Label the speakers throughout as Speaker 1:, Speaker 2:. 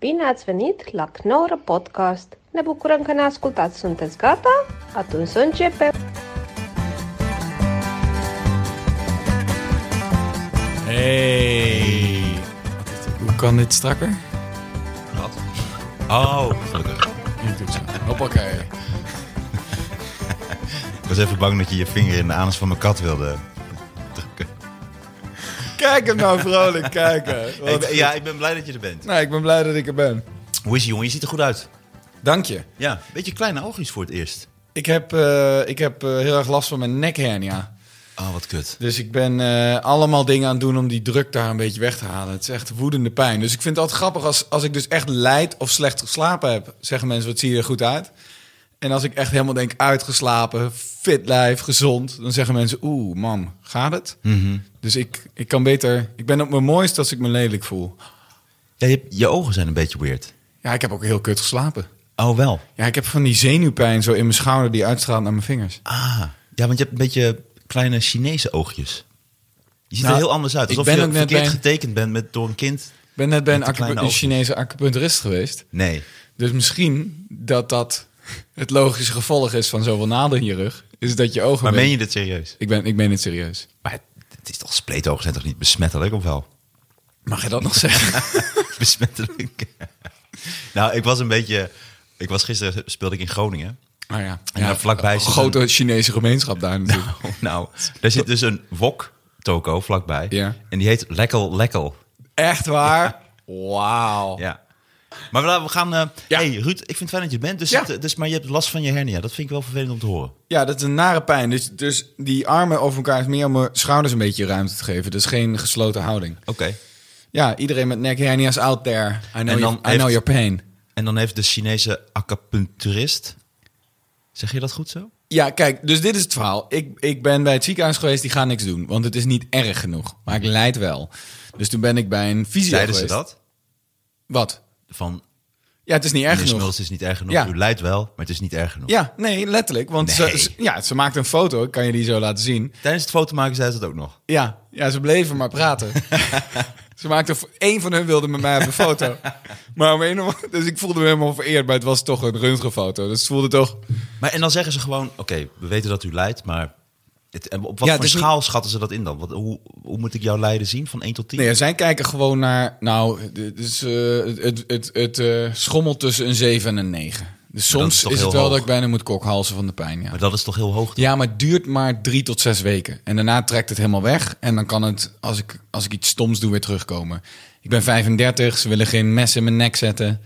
Speaker 1: Bine ați venit la Knorr Podcast! Ne bucurăm că ne ascultați! Sunteți gata? Atunci să începem!
Speaker 2: Hey.
Speaker 3: Hoe kan dit strakker?
Speaker 2: Wat?
Speaker 4: Oh, gelukkig.
Speaker 3: Hier doet ze. Hoppakee.
Speaker 4: Ik was even bang dat je je vinger in de anus van mijn kat wilde drukken.
Speaker 3: Kijk hem nou vrolijk kijken. Wat-
Speaker 4: Ik ben- ja, ik ben blij dat je er bent.
Speaker 3: Nou, ik ben blij dat ik er ben.
Speaker 4: Hoe is je jongen? Je ziet er goed uit.
Speaker 3: Dank je.
Speaker 4: Ja, beetje kleine oogjes voor het eerst.
Speaker 3: Ik heb, eh, ik heb eh, heel erg last van mijn nekhernia.
Speaker 4: Oh, wat kut.
Speaker 3: Dus ik ben eh, allemaal dingen aan het doen om die druk daar een beetje weg te halen. Het is echt woedende pijn. Dus ik vind het altijd grappig als, als ik dus echt lijd of slecht geslapen heb. Zeggen mensen, wat zie je er goed uit? En als ik echt helemaal denk uitgeslapen, fit lijf, gezond. Dan zeggen mensen, oeh man, gaat het?
Speaker 4: Mhm.
Speaker 3: Dus ik, ik kan beter... Ik ben op mijn mooist als ik me lelijk voel.
Speaker 4: Ja, je, je ogen zijn een beetje weird.
Speaker 3: Ja, ik heb ook heel kut geslapen.
Speaker 4: Oh, wel.
Speaker 3: Ja, ik heb van die zenuwpijn zo in mijn schouder die uitstraalt naar mijn vingers.
Speaker 4: Ah, ja, want je hebt een beetje kleine Chinese oogjes. Je ziet
Speaker 3: Nou,
Speaker 4: er heel anders uit.
Speaker 3: ik
Speaker 4: Alsof
Speaker 3: ben
Speaker 4: je
Speaker 3: ook net
Speaker 4: verkeerd
Speaker 3: bij-
Speaker 4: getekend bent met, door een kind.
Speaker 3: Ik ben net bij een,
Speaker 4: Met
Speaker 3: acupu-
Speaker 4: de kleine
Speaker 3: een
Speaker 4: oogjes.
Speaker 3: Chinese acupuncturist geweest.
Speaker 4: Nee.
Speaker 3: Dus misschien dat dat het logische gevolg is van zoveel naden in je rug. Is dat je ogen...
Speaker 4: Maar
Speaker 3: ben-
Speaker 4: meen je dit serieus?
Speaker 3: Ik, ben, ik meen het serieus.
Speaker 4: Maar het, het is toch spleetogen zijn toch niet besmettelijk, of wel?
Speaker 3: Mag je dat nog zeggen?
Speaker 4: besmettelijk. nou, ik was een beetje... Ik was gisteren speelde ik in Groningen.
Speaker 3: Maar ja,
Speaker 4: En daar vlakbij
Speaker 3: een
Speaker 4: zit
Speaker 3: grote Chinese gemeenschap daar natuurlijk.
Speaker 4: Oh, nou, daar zit dus een wok-toko vlakbij.
Speaker 3: Ja.
Speaker 4: En die heet Lekkel Lekkel.
Speaker 3: Echt waar? Wauw.
Speaker 4: Ja. Maar we, we gaan... eh,
Speaker 3: Ja.
Speaker 4: Hey Ruud, ik vind het fijn dat je er bent. Dus,
Speaker 3: Ja.
Speaker 4: het- dus, maar je hebt last van je hernia. Dat vind ik wel vervelend om te horen.
Speaker 3: Ja, dat is een nare pijn. Dus, dus die armen over elkaar is meer om mijn schouders een beetje ruimte te geven. Dus geen gesloten houding.
Speaker 4: Oké.
Speaker 3: Ja, iedereen met nekhernia's out there. I know,
Speaker 4: dan
Speaker 3: your, I
Speaker 4: heeft-
Speaker 3: know your pain.
Speaker 4: En dan heeft de Chinese acupuncturist... Zeg je dat goed zo?
Speaker 3: Ja, kijk, dus dit is het verhaal. Ik, ik ben bij het ziekenhuis geweest, die gaan niks doen. Want het is niet erg genoeg. Maar ik leid wel. Dus toen ben ik bij een fysio
Speaker 4: Zeiden ze
Speaker 3: geweest.
Speaker 4: dat?
Speaker 3: Wat?
Speaker 4: Van,
Speaker 3: Ja, het is niet erg
Speaker 4: meneer
Speaker 3: genoeg.
Speaker 4: Smuls is niet erg genoeg.
Speaker 3: Ja.
Speaker 4: U lijdt wel, maar het is niet erg genoeg.
Speaker 3: Ja, nee, letterlijk. Want
Speaker 4: Nee.
Speaker 3: ze, ze- ja, ze maakt een foto, ik kan je die zo laten zien.
Speaker 4: Tijdens het foto maken zei ze dat ook nog.
Speaker 3: Ja, ja ze bleven maar praten. ze maakte, één van hun wilde met mij op een foto. maar om een of andere- dus ik voelde me helemaal vereerd, maar het was toch een röntgenfoto. Dus het voelde toch...
Speaker 4: Maar en dan zeggen ze gewoon, oké, we weten dat u lijdt, maar het, en op wat
Speaker 3: Ja, het
Speaker 4: voor
Speaker 3: is niet-
Speaker 4: schaal schatten ze dat in dan? Wat, hoe, hoe moet ik jouw lijden zien? Van 1 tot 10?
Speaker 3: Nee, zij kijken gewoon naar. Nou, dit is, eh, het, het, het eh, schommelt tussen een 7 en een 9. Dus
Speaker 4: dat
Speaker 3: soms
Speaker 4: is
Speaker 3: is,
Speaker 4: toch
Speaker 3: het
Speaker 4: heel
Speaker 3: wel
Speaker 4: hoog?
Speaker 3: dat ik bijna moet kokhalzen van de pijn. Ja.
Speaker 4: Maar dat is toch heel hoog?
Speaker 3: ja, maar het duurt maar drie tot zes weken. En daarna trekt het helemaal weg. En dan kan het, als ik, als ik iets stoms doe, weer terugkomen. Ik ben 35, ze willen geen mes in mijn nek zetten.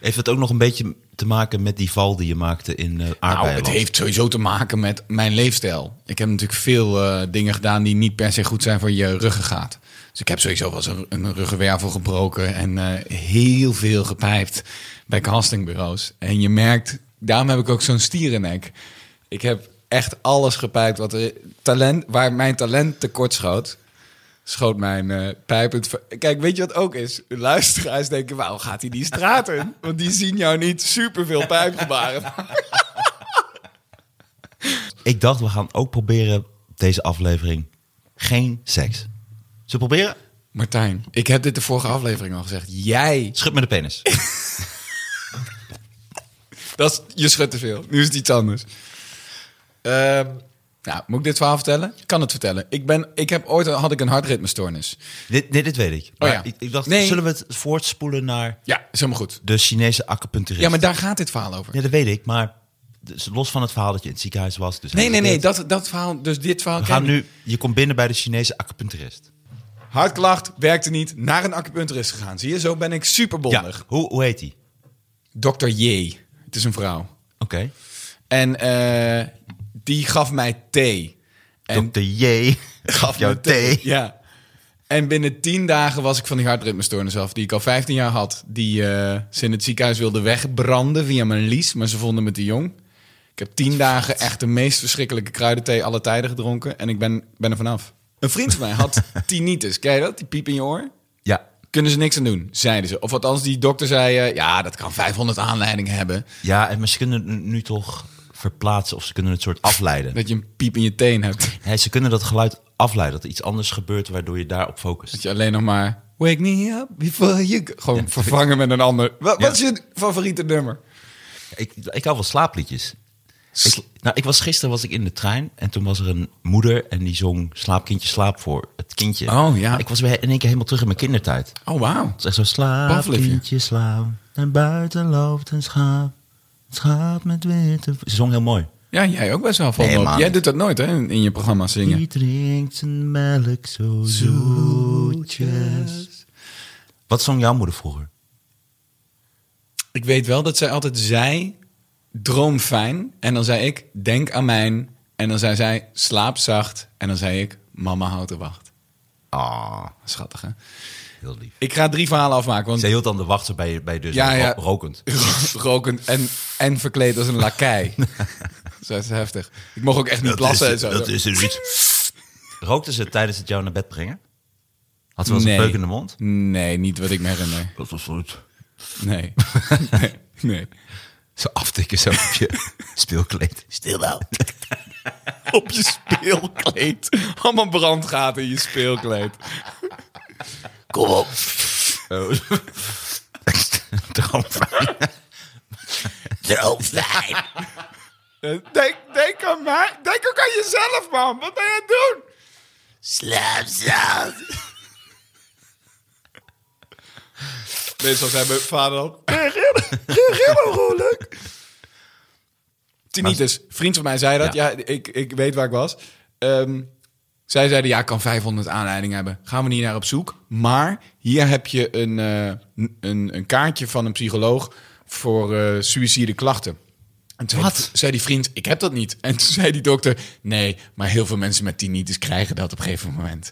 Speaker 4: Heeft het ook nog een beetje te maken met die val die je maakte in eh
Speaker 3: Nou,
Speaker 4: aardbeienland?
Speaker 3: het heeft sowieso te maken met mijn leefstijl. Ik heb natuurlijk veel eh, dingen gedaan die niet per se goed zijn voor je ruggengraat. Dus ik heb sowieso wel eens een, een ruggenwervel gebroken en eh, heel veel gepijpt bij castingbureaus. En je merkt, daarom heb ik ook zo'n stierennek. Ik heb echt alles gepijpt wat er, talent, waar mijn talent tekort schoot. Schoot mijn eh pijpend. ver- Kijk, weet je wat ook is? De luisteraars denken: waarom gaat hij die straat in? Want die zien jou niet superveel pijpgebaren.
Speaker 4: Ik dacht, we gaan ook proberen deze aflevering geen seks. Ze proberen?
Speaker 3: Martijn, ik heb dit de vorige aflevering al gezegd. Jij.
Speaker 4: Schud met de penis.
Speaker 3: Dat is- je schudt te veel. Nu is het iets anders. Ehm, nou, moet ik dit verhaal vertellen? Ik kan het vertellen. Ik ben, ik heb ooit had ik een hartritmestoornis.
Speaker 4: dit, nee, dit weet ik. Maar
Speaker 3: Oh ja.
Speaker 4: ik, ik dacht,
Speaker 3: Nee.
Speaker 4: zullen we het voortspoelen naar
Speaker 3: Ja, is helemaal goed.
Speaker 4: de Chinese acupuncturist?
Speaker 3: Ja, maar daar gaat dit verhaal over.
Speaker 4: Ja, dat weet ik, maar dus los van het verhaal dat je in het ziekenhuis was. Dus
Speaker 3: Nee, nee, nee. Dat, dat verhaal, dus dit verhaal.
Speaker 4: We
Speaker 3: ken
Speaker 4: gaan
Speaker 3: ik.
Speaker 4: nu, je komt binnen bij de Chinese acupuncturist.
Speaker 3: Hartklacht, werkte niet, naar een acupuncturist gegaan. Zie je, zo ben ik superbondig.
Speaker 4: Ja, hoe, hoe heet die?
Speaker 3: Dr. J. Het is een vrouw.
Speaker 4: Oké.
Speaker 3: En eh, die gaf mij thee. En
Speaker 4: Dr. J gaf jou thee.
Speaker 3: Ja. En binnen tien dagen was ik van die hartritmestoornis af, die ik al 15 jaar had. Die eh, ze in het ziekenhuis wilden wegbranden via mijn lies, maar ze vonden me te jong. Ik heb tien dagen echt de meest verschrikkelijke kruidenthee alle tijden gedronken en ik ben, ben er vanaf. Een vriend van mij had tinnitus, ken je dat? Die piep in je oor.
Speaker 4: Ja.
Speaker 3: Kunnen ze niks aan doen, zeiden ze. Of althans, die dokter zei, eh, ja, dat kan 500 aanleidingen hebben.
Speaker 4: ja, en maar ze kunnen het nu toch verplaatsen of ze kunnen het soort afleiden.
Speaker 3: Dat je een piep in je teen hebt.
Speaker 4: Hè, ze kunnen dat geluid afleiden, dat er iets anders gebeurt waardoor je daarop focust.
Speaker 3: Dat je alleen nog maar... Wake me up before you... go- Gewoon vervangen met een ander. Wat,
Speaker 4: Ja.
Speaker 3: wat is je favoriete nummer?
Speaker 4: Ik, ik hou wel slaapliedjes.
Speaker 3: Sl-
Speaker 4: Ik, nou, ik was, gisteren was ik in de trein en toen was er een moeder en die zong Slaap kindje slaap voor het kindje.
Speaker 3: Oh, ja.
Speaker 4: Maar Ik was weer in één keer helemaal terug in mijn kindertijd. Het
Speaker 3: Oh, wauw.
Speaker 4: is echt zo slaap
Speaker 3: Pavlovje.
Speaker 4: kindje slaap en buiten loopt een schaap. Een schaap met witte... v- Ze zong heel mooi.
Speaker 3: Ja, jij ook best wel van
Speaker 4: Nee,
Speaker 3: Bob.
Speaker 4: man.
Speaker 3: Jij doet dat nooit, hè, in, in je programma zingen.
Speaker 4: Die drinkt zijn melk zo zoetjes. Wat zong jouw moeder vroeger?
Speaker 3: Ik weet wel dat zij altijd zei, droom fijn. En dan zei ik, denk aan mijn. En dan zei zij, slaap zacht. En dan zei ik, mama houdt de wacht.
Speaker 4: Ah,
Speaker 3: Schattig, hè?
Speaker 4: heel lief.
Speaker 3: Ik ga drie verhalen afmaken, want
Speaker 4: Zij hield dan de wachten bij, bij dus
Speaker 3: Ja, ja.
Speaker 4: rokend.
Speaker 3: rokend en, en verkleed als een lakai. Zo is het heftig. Ik mocht ook echt niet plassen en zo.
Speaker 4: er niet. Rookte ze tijdens het jou naar bed brengen? Had ze wel eens
Speaker 3: Nee.
Speaker 4: een peuk in de mond?
Speaker 3: Nee, niet wat ik me herinner.
Speaker 4: Dat was goed.
Speaker 3: Nee. nee. nee.
Speaker 4: Zo aftikken zo op je speelkleed. Stil nou.
Speaker 3: Op je speelkleed. Allemaal brandgaten in je speelkleed.
Speaker 4: Kom op. Droomfijn. Droomfijn.
Speaker 3: Denk, denk aan mij. Denk ook aan jezelf, man. Wat ben je aan het doen?
Speaker 4: Slaap zacht.
Speaker 3: Meestal zei mijn vader al... Grillenrolijk. Tinnitus. dus, Vriend van mij zei dat. Ja, ik, ik weet waar ik was. Ehm, zij zeiden, ja, ik kan 500 aanleidingen hebben. Gaan we niet naar op zoek. Maar hier heb je een, eh, n- een, een kaartje van een psycholoog voor eh suïcide klachten. En toen
Speaker 4: Wat?
Speaker 3: zei die- zei die vriend, ik heb dat niet. En toen zei die dokter, nee, maar heel veel mensen met tinnitus krijgen dat op een gegeven moment.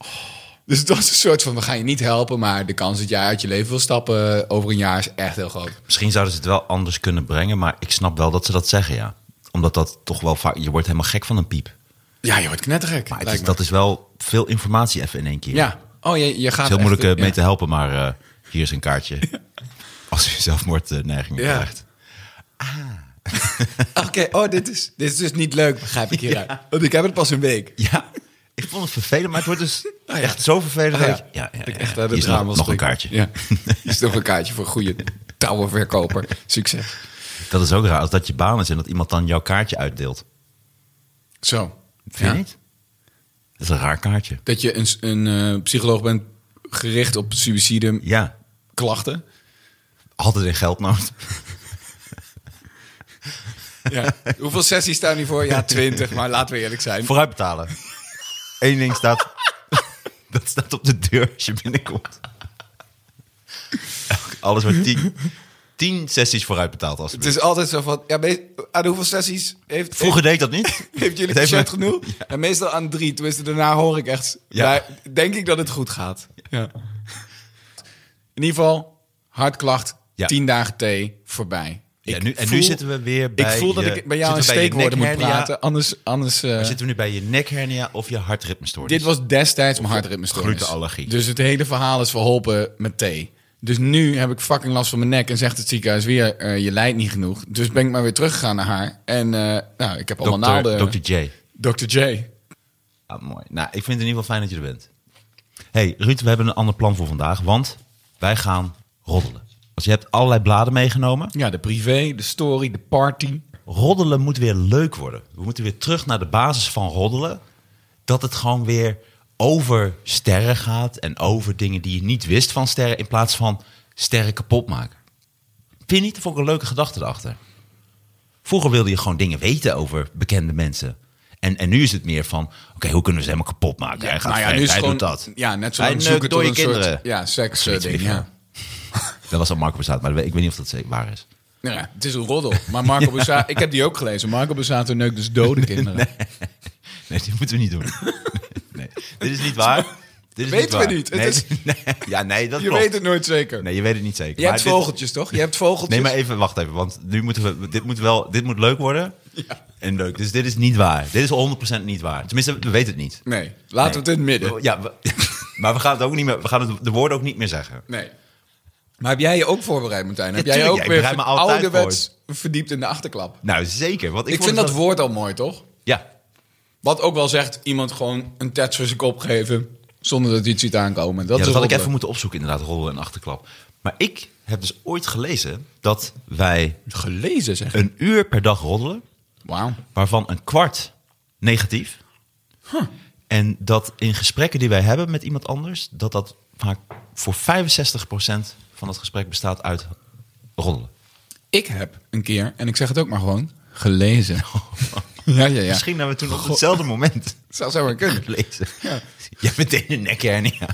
Speaker 3: Dus het was een soort van, we gaan je niet helpen, maar de kans dat jij uit je leven wil stappen over een jaar is echt heel groot.
Speaker 4: Misschien zouden ze het wel anders kunnen brengen, maar ik snap wel dat ze dat zeggen, ja. Omdat dat toch wel vaak... Je wordt helemaal gek van een piep.
Speaker 3: Ja, je wordt knettergek.
Speaker 4: Maar het
Speaker 3: lijkt
Speaker 4: is,
Speaker 3: me.
Speaker 4: dat is wel veel informatie even in één keer.
Speaker 3: Ja. Oh, je, je gaat...
Speaker 4: Het is heel
Speaker 3: echt-
Speaker 4: moeilijk eh, mee
Speaker 3: ja.
Speaker 4: te helpen, maar eh, hier is een kaartje. Als je zelfmoordneigingen
Speaker 3: Ja.
Speaker 4: krijgt.
Speaker 3: Oké, oh, dit is, dit is dus niet leuk, begrijp ik hieruit. Want ik heb het pas een week.
Speaker 4: Ja, ik vond het vervelend, maar het wordt dus
Speaker 3: Ah, ja.
Speaker 4: echt zo vervelend.
Speaker 3: Ah, ja.
Speaker 4: dat je- ja, ja,
Speaker 3: Dat ik
Speaker 4: ja.
Speaker 3: echt uit
Speaker 4: Hier
Speaker 3: het
Speaker 4: is nog-
Speaker 3: raam wil
Speaker 4: nog een
Speaker 3: springen.
Speaker 4: kaartje.
Speaker 3: Ja. Hier is nog een kaartje voor een goede touwenverkoper. Succes.
Speaker 4: Dat is ook raar, als dat je baan is en dat iemand dan jouw kaartje uitdeelt.
Speaker 3: Zo.
Speaker 4: Vind
Speaker 3: Ja.
Speaker 4: je niet? Dat is een raar kaartje.
Speaker 3: Dat je een, s- een eh, psycholoog bent gericht op suïcide
Speaker 4: Ja,
Speaker 3: klachten.
Speaker 4: altijd in geldnood.
Speaker 3: Ja. Hoeveel sessies staan hiervoor? Ja, twintig, maar laten we eerlijk zijn.
Speaker 4: Vooruit betalen. Eén ding staat... dat staat op de deur als je binnenkomt. Elk- Alles wordt tien, tien sessies vooruit betaald. Als
Speaker 3: Het is altijd zo van, ja, me- aan hoeveel sessies heeft,
Speaker 4: Vroeger deed ik dat niet.
Speaker 3: heeft, heeft jullie
Speaker 4: Het heeft
Speaker 3: patiënt
Speaker 4: me-
Speaker 3: genoeg? En meestal aan drie, tenminste daarna hoor ik echt,
Speaker 4: Ja.
Speaker 3: daar denk ik dat het goed gaat. Ja. In ieder geval, hartklacht,
Speaker 4: Ja.
Speaker 3: tien dagen thee, voorbij.
Speaker 4: Ja,
Speaker 3: Ik
Speaker 4: nu- en nu zitten we weer bij
Speaker 3: Ik voel dat
Speaker 4: je-
Speaker 3: ik bij jou een
Speaker 4: zitten we bij je
Speaker 3: steekwoorden moet
Speaker 4: nekhernia?
Speaker 3: praten, anders... anders eh,
Speaker 4: Maar zitten we nu bij je nekhernia of je hartritmestoornis?
Speaker 3: dit was destijds mijn hartritmestoornis.
Speaker 4: glutenallergie.
Speaker 3: Dus het hele verhaal is verholpen met thee. Dus nu heb ik fucking last van mijn nek en zegt het ziekenhuis weer, eh, je lijdt niet genoeg. Dus ben ik maar weer teruggegaan naar haar. En eh, nou, ik heb allemaal
Speaker 4: Dr.
Speaker 3: naalden.
Speaker 4: Dr. J.
Speaker 3: Dr. J.
Speaker 4: Ah, mooi. Nou, ik vind het in ieder geval fijn dat je er bent. hey, Ruud, we hebben een ander plan voor vandaag, want wij gaan roddelen. Want je hebt allerlei bladen meegenomen.
Speaker 3: Ja, de privé, de story, de party.
Speaker 4: Roddelen moet weer leuk worden. We moeten weer terug naar de basis van roddelen. Dat het gewoon weer over sterren gaat en over dingen die je niet wist van sterren, in plaats van sterren kapot maken. Vind je niet? Dat vond ik een leuke gedachte erachter. Vroeger wilde je gewoon dingen weten over bekende mensen. En, en nu is het meer van, oké, hoe kunnen we ze helemaal kapot maken? hij gaat
Speaker 3: nou ja,
Speaker 4: vreemd,
Speaker 3: nu is
Speaker 4: hij
Speaker 3: het
Speaker 4: doet
Speaker 3: gewoon-
Speaker 4: dat.
Speaker 3: ja, net zo
Speaker 4: Hij
Speaker 3: lang
Speaker 4: neukt
Speaker 3: zoeken tot
Speaker 4: dode
Speaker 3: een soort-
Speaker 4: kinderen.
Speaker 3: ja, seks,
Speaker 4: Zoiets,
Speaker 3: eh,
Speaker 4: weet
Speaker 3: ding,
Speaker 4: ik
Speaker 3: ja.
Speaker 4: veel. Dat was al Marco Bestaat, maar dat weet- ik weet niet of dat zeker waar is.
Speaker 3: Nou ja, het is een roddel. Maar Marco Bussato, ik heb die ook gelezen. Marco Bussato neukt dus dode kinderen.
Speaker 4: Nee, dit moeten we niet doen. nee, dit is niet waar. Dit is
Speaker 3: Weten
Speaker 4: niet
Speaker 3: we
Speaker 4: waar.
Speaker 3: niet. Het
Speaker 4: Nee,
Speaker 3: is-
Speaker 4: nee, ja, nee, dat
Speaker 3: Je
Speaker 4: klopt.
Speaker 3: weet het nooit zeker.
Speaker 4: Nee, je weet het niet zeker.
Speaker 3: Je hebt
Speaker 4: Maar dit-
Speaker 3: vogeltjes, toch? Je hebt vogeltjes.
Speaker 4: Nee, maar even, wacht even. Want nu moeten we, dit moet wel, dit moet leuk worden. En leuk. Dus dit is niet waar. Dit is 100% niet waar. Tenminste, we weten het niet. Eh,
Speaker 3: Nee, laten we het in het midden.
Speaker 4: Ja, we- maar we gaan het ook niet meer, we gaan het, de woorden ook niet meer zeggen.
Speaker 3: Nee. Maar heb jij je ook voorbereid, Martijn? Heb
Speaker 4: Ja,
Speaker 3: jij je ook
Speaker 4: tuurlijk, ja, ik
Speaker 3: weer
Speaker 4: bereid me altijd
Speaker 3: ouderwets verdiept in de achterklap?
Speaker 4: Nou, zeker. Want ik,
Speaker 3: Ik,
Speaker 4: vond
Speaker 3: vind
Speaker 4: het
Speaker 3: dat
Speaker 4: wel-
Speaker 3: woord al mooi, toch?
Speaker 4: Ja,
Speaker 3: Wat ook wel zegt, iemand gewoon een tet voor zijn kop geven. Zonder dat je het ziet aankomen. Dat is
Speaker 4: ja, dat had ik
Speaker 3: roddelen.
Speaker 4: even moeten opzoeken, inderdaad, rollen en achterklap. Maar ik heb dus ooit gelezen dat wij
Speaker 3: gelezen zeg.
Speaker 4: een uur per dag roddelen,
Speaker 3: Wauw.
Speaker 4: waarvan een kwart negatief. En dat in gesprekken die wij hebben met iemand anders, dat dat vaak voor 65% van het gesprek bestaat uit roddelen.
Speaker 3: Ik heb een keer, en ik zeg het ook maar gewoon, gelezen. ja, ja, ja.
Speaker 4: Misschien hebben we toen op
Speaker 3: Goh.
Speaker 4: hetzelfde moment
Speaker 3: Zou zo maar kunnen.
Speaker 4: gelezen.
Speaker 3: Ja.
Speaker 4: Jij meteen een nekhernia.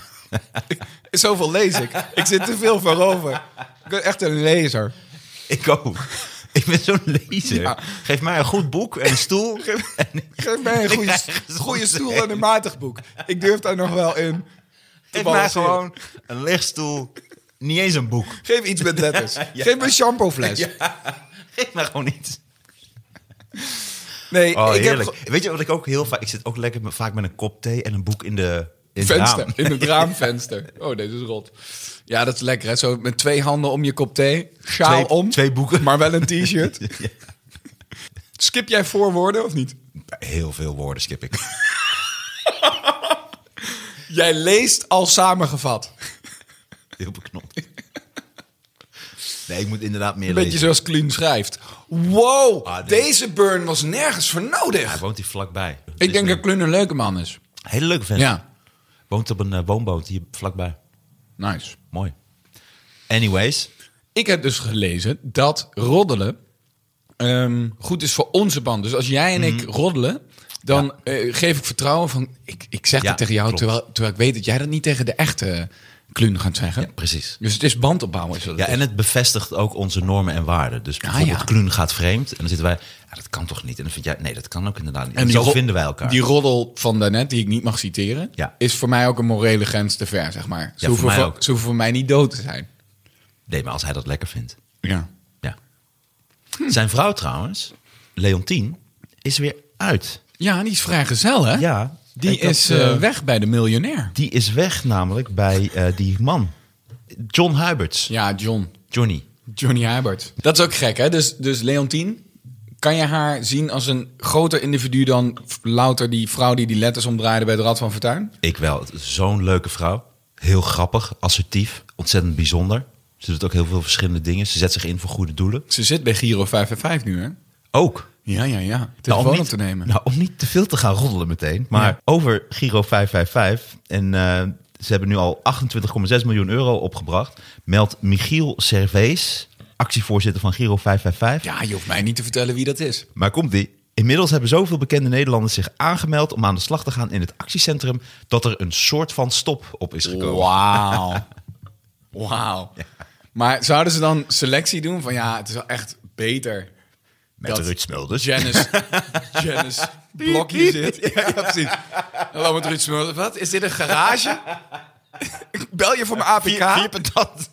Speaker 3: Zoveel lees ik. Ik zit te veel voorover. Ik ben echt een lezer.
Speaker 4: Ik ook. Ik ben zo'n lezer.
Speaker 3: Ja.
Speaker 4: Geef mij een goed boek en een stoel. en
Speaker 3: Geef mij een goede,
Speaker 4: krijg er
Speaker 3: goede
Speaker 4: soms
Speaker 3: stoel
Speaker 4: een.
Speaker 3: en een matig boek. Ik durf daar nog wel in. te
Speaker 4: Geef mij
Speaker 3: balanceren.
Speaker 4: gewoon een lichtstoel. Niet eens een boek.
Speaker 3: Geef iets met letters. Geef me een shampoofles.
Speaker 4: Geef mij gewoon iets.
Speaker 3: Nee,
Speaker 4: Oh,
Speaker 3: ik heb
Speaker 4: heerlijk. Weet je wat ik ook heel vaak... Ik zit ook lekker met, vaak met een kop thee en een boek in de... In
Speaker 3: ge-
Speaker 4: het
Speaker 3: venster.
Speaker 4: raam.
Speaker 3: In het raamvenster. Oh, deze is rot. Ja, dat is lekker. Hè? Zo met twee handen om je kop thee. Sjaal
Speaker 4: Twee-
Speaker 3: om.
Speaker 4: twee boeken.
Speaker 3: Maar wel een t-shirt.
Speaker 4: Ja.
Speaker 3: Skip jij voorwoorden of niet?
Speaker 4: Heel veel woorden skip ik.
Speaker 3: Jij leest al samengevat.
Speaker 4: Heel beknopt. Nee, ik moet inderdaad meer
Speaker 3: Een beetje
Speaker 4: lezen.
Speaker 3: zoals Clean schrijft. Wow,
Speaker 4: Ah, nee.
Speaker 3: deze burn was nergens voor nodig.
Speaker 4: Hij woont hier vlakbij.
Speaker 3: Ik denk dat Kluun een leuke man is.
Speaker 4: Hele leuke vent.
Speaker 3: Ja,
Speaker 4: Woont op een eh, woonboot hier vlakbij.
Speaker 3: nice.
Speaker 4: Mooi. Anyways.
Speaker 3: Ik heb dus gelezen dat roddelen ehm, goed is voor onze band. Dus als jij en ik
Speaker 4: Mhm.
Speaker 3: roddelen, dan eh, geef ik vertrouwen van... Ik, ik zeg
Speaker 4: Ja,
Speaker 3: dat tegen jou,
Speaker 4: klopt.
Speaker 3: terwijl, terwijl ik weet dat jij dat niet tegen de echte eh, Kluun gaat zeggen.
Speaker 4: Ja, precies.
Speaker 3: Dus het is band opbouwen. Is wat
Speaker 4: Ja,
Speaker 3: het
Speaker 4: en het bevestigt ook onze normen en waarden. Dus bijvoorbeeld
Speaker 3: Ah, ja.
Speaker 4: Kluun gaat vreemd en dan zitten wij... Ja, dat kan toch niet? En dan vind jij... Nee, dat kan ook inderdaad niet. En,
Speaker 3: die
Speaker 4: zo
Speaker 3: ro-
Speaker 4: vinden wij elkaar.
Speaker 3: Die roddel van daarnet, die ik niet mag citeren,
Speaker 4: Ja.
Speaker 3: is voor mij ook een morele grens te ver, zeg maar. Ze,
Speaker 4: voor
Speaker 3: hoeven,
Speaker 4: mij
Speaker 3: voor,
Speaker 4: ook.
Speaker 3: ze hoeven voor mij niet dood te zijn.
Speaker 4: Nee, maar als hij dat lekker vindt.
Speaker 3: Ja.
Speaker 4: Ja.
Speaker 3: Hm.
Speaker 4: Zijn vrouw trouwens, Leontien, is weer uit.
Speaker 3: Ja, die is vrijgezel, hè?
Speaker 4: Ja.
Speaker 3: Die
Speaker 4: ik had,
Speaker 3: is
Speaker 4: eh,
Speaker 3: eh, weg bij de miljonair.
Speaker 4: Die is weg namelijk bij eh, die man. John Huberts.
Speaker 3: Ja, John.
Speaker 4: Johnny.
Speaker 3: Johnny Hubert. Dat is ook gek, hè? Dus, dus Leontien, kan je haar zien als een groter individu dan f- louter die vrouw die die letters omdraaide bij het Rad van Fortuin?
Speaker 4: Ik wel. Het is Zo'n leuke vrouw. Heel grappig, assertief, ontzettend bijzonder. Ze doet ook heel veel verschillende dingen. Ze zet zich in voor goede doelen.
Speaker 3: Ze zit bij Giro 555 nu, hè?
Speaker 4: Ook.
Speaker 3: Ja, ja, ja.
Speaker 4: Nou,
Speaker 3: Telefoon
Speaker 4: om niet,
Speaker 3: op te nemen.
Speaker 4: Nou, om niet te veel te gaan roddelen meteen. Maar
Speaker 3: Ja.
Speaker 4: over Giro 555. En eh, ze hebben nu al 28,6 miljoen euro opgebracht. Meldt Michiel Servees, actievoorzitter van Giro 555.
Speaker 3: Ja, je hoeft mij niet te vertellen wie dat is.
Speaker 4: Maar komt die? Inmiddels hebben zoveel bekende Nederlanders zich aangemeld om aan de slag te gaan in het actiecentrum. dat er een soort van stop op is gekomen.
Speaker 3: Wauw. Wauw. Maar zouden ze dan selectie doen van ja, het is wel echt beter
Speaker 4: Met
Speaker 3: dat-
Speaker 4: Ruud Smulders.
Speaker 3: Janice, Janice Blok hier zit. Ja, ja, precies. Hallo met Ruud Smulders. Wat, is dit een garage? Bel je voor mijn APK?
Speaker 4: Vier, vier patat.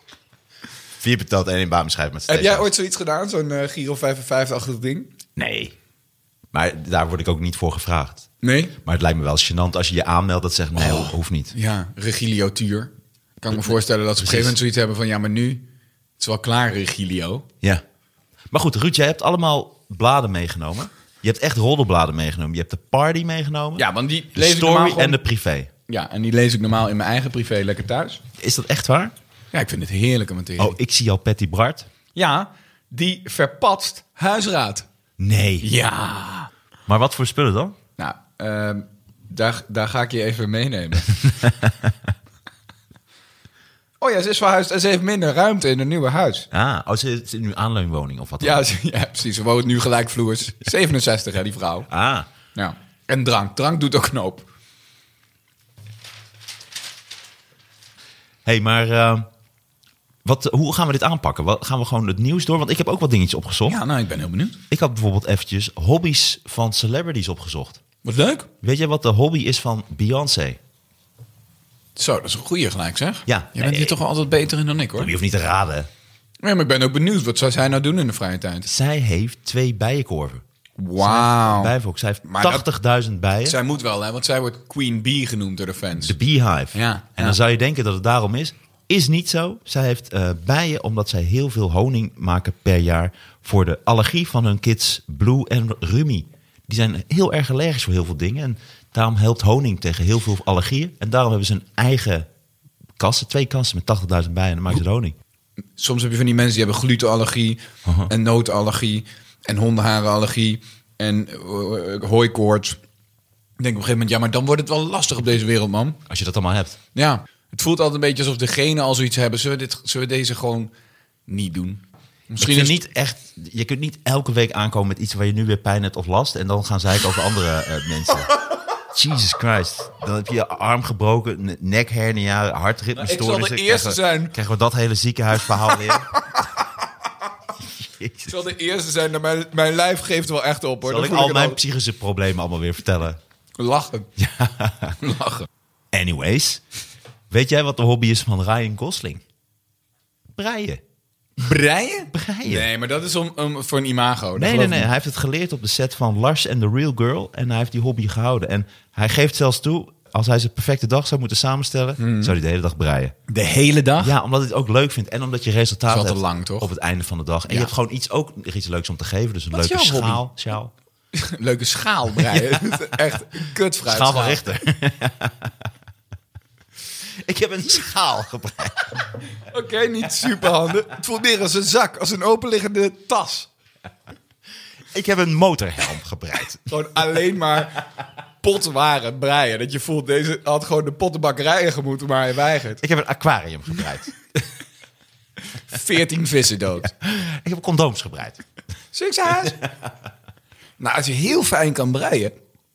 Speaker 4: vier patat en één baan beschrijft met z'n
Speaker 3: Heb jij
Speaker 4: tweeën.
Speaker 3: ooit zoiets gedaan, zo'n eh, Giro 55-achtig ding?
Speaker 4: Nee. Maar daar word ik ook niet voor gevraagd.
Speaker 3: Nee?
Speaker 4: Maar het lijkt me wel gênant als je je aanmeldt dat zegt
Speaker 3: Oh.
Speaker 4: nee, ho- hoeft niet.
Speaker 3: Ja, Regilio Tuur. Kan ik me voorstellen dat ze op een gegeven moment zoiets hebben van... ja, maar nu, het is wel klaar, Regilio.
Speaker 4: Ja. Maar goed, Ruud, jij hebt allemaal bladen meegenomen. Je hebt echt roddelbladen meegenomen. Je hebt de party meegenomen.
Speaker 3: Ja, want die
Speaker 4: de
Speaker 3: lees ik normaal
Speaker 4: story
Speaker 3: gewoon-
Speaker 4: en de privé.
Speaker 3: Ja, en die lees ik normaal in mijn eigen privé lekker thuis.
Speaker 4: Is dat echt waar?
Speaker 3: Ja, ik vind het heerlijke materie.
Speaker 4: Oh, ik zie al Patty Bart.
Speaker 3: Oh. Ja, die verpatst huisraad.
Speaker 4: Nee.
Speaker 3: Ja.
Speaker 4: Maar wat voor spullen dan?
Speaker 3: Nou, ehm, daar, daar ga ik je even meenemen. oh ja, ze is verhuisd en ze heeft minder ruimte in een nieuwe huis.
Speaker 4: Ah, oh, ze zit nu aanleunwoning of wat dan?
Speaker 3: Ja, ze- ja, precies. Ze woont nu gelijkvloers. 67, hè, die vrouw.
Speaker 4: Ah,
Speaker 3: Ja. En drank. Drank doet ook een hoop.
Speaker 4: hey, maar eh, wat, hoe gaan we dit aanpakken? Wat, gaan we gewoon het nieuws door? Want ik heb ook wat dingetjes opgezocht.
Speaker 3: Ja, nou, ik ben heel benieuwd.
Speaker 4: Ik had bijvoorbeeld eventjes hobby's van celebrities opgezocht.
Speaker 3: Wat leuk.
Speaker 4: Weet jij wat de hobby is van Beyoncé?
Speaker 3: Zo, dat is een goeie gelijk, zeg.
Speaker 4: Ja.
Speaker 3: Je bent
Speaker 4: Nee,
Speaker 3: hier toch wel altijd beter in dan ik, hoor.
Speaker 4: Je
Speaker 3: Nee,
Speaker 4: hoeft niet te raden.
Speaker 3: maar ik ben ook benieuwd. Wat zou zij nou doen in de vrije tijd?
Speaker 4: Zij heeft twee bijenkorven.
Speaker 3: Wauw.
Speaker 4: Bijvolk. Zij
Speaker 3: Maar dat-
Speaker 4: heeft 80.000 bijen.
Speaker 3: Zij moet wel, hè? Want zij wordt Queen Bee genoemd door de fans.
Speaker 4: De beehive.
Speaker 3: Ja,
Speaker 4: en dan
Speaker 3: ja.
Speaker 4: zou je denken dat het daarom is. Is niet zo. Zij heeft eh, bijen omdat zij heel veel honing maken per jaar voor de allergie van hun kids Blue en Rumi. die zijn heel erg allergisch voor heel veel dingen. En daarom helpt honing tegen heel veel allergieën. En daarom hebben ze een eigen kassen, twee kassen met 80.000 bijen en dan maken ze er honing.
Speaker 3: Soms heb je van die mensen die hebben glutenallergie en noodallergie en hondenharenallergie en eh, hooikoorts. Ik denk op een gegeven moment, ja, maar dan wordt het wel lastig op deze wereld, man.
Speaker 4: Als je dat allemaal hebt.
Speaker 3: Ja, het voelt altijd een beetje alsof de genen al zoiets hebben. Zullen we, dit, zullen we deze gewoon niet doen?
Speaker 4: Misschien
Speaker 3: is-
Speaker 4: niet echt, je kunt niet elke week aankomen met iets waar je nu weer pijn hebt of last. En dan gaan zeiken over andere eh, mensen. Jesus Christ. Dan heb je je arm gebroken, ne- nekhernia, hartritmestoornissen.
Speaker 3: Nou, ik zal de eerste
Speaker 4: Krijgen we-
Speaker 3: zijn.
Speaker 4: Krijgen we dat hele ziekenhuisverhaal weer. Jezus.
Speaker 3: Ik zal de eerste zijn, dat mijn, mijn lijf geeft wel echt op, hoor.
Speaker 4: Zal
Speaker 3: Dat
Speaker 4: ik
Speaker 3: voel
Speaker 4: al mijn
Speaker 3: het
Speaker 4: psychische problemen allemaal weer vertellen?
Speaker 3: al. Lachen. Lachen.
Speaker 4: Anyways, weet jij wat de hobby is van Ryan Gosling? Breien.
Speaker 3: Breien?
Speaker 4: Breien.
Speaker 3: Nee, maar dat is om, om- voor een imago. Dat
Speaker 4: Nee,
Speaker 3: geloof
Speaker 4: nee,
Speaker 3: ik
Speaker 4: nee.
Speaker 3: niet.
Speaker 4: Hij heeft het geleerd op de set van Lars and the Real Girl. En hij heeft die hobby gehouden. En hij geeft zelfs toe, als hij zijn perfecte dag zou moeten samenstellen, zou hij de hele dag breien.
Speaker 3: De hele dag?
Speaker 4: Hmm. Ja, omdat hij het ook leuk vindt. En omdat je resultaat
Speaker 3: Is wel
Speaker 4: hebt
Speaker 3: te lang, toch?
Speaker 4: op het einde van de dag. En
Speaker 3: Ja.
Speaker 4: je hebt gewoon iets, ook iets leuks om te geven. Dus een
Speaker 3: Wat is
Speaker 4: leuke
Speaker 3: jouw hobby?
Speaker 4: schaal. Sjaal.
Speaker 3: Leuke schaal breien. Dat is Echt een kutvraag.
Speaker 4: Schaal van Richter. Ik heb een schaal gebreid.
Speaker 3: Oké, niet superhanden. Het voelt meer als een zak, als een openliggende tas.
Speaker 4: Ik heb een motorhelm gebreid.
Speaker 3: Gewoon alleen maar potwaren breien. Dat je voelt, deze had gewoon de pottenbakkerijen gemoeten, maar hij weigert.
Speaker 4: Ik heb een aquarium gebreid.
Speaker 3: 14 vissen dood.
Speaker 4: Ik heb condooms gebreid.
Speaker 3: Succes! nou, als je heel fijn kan breien,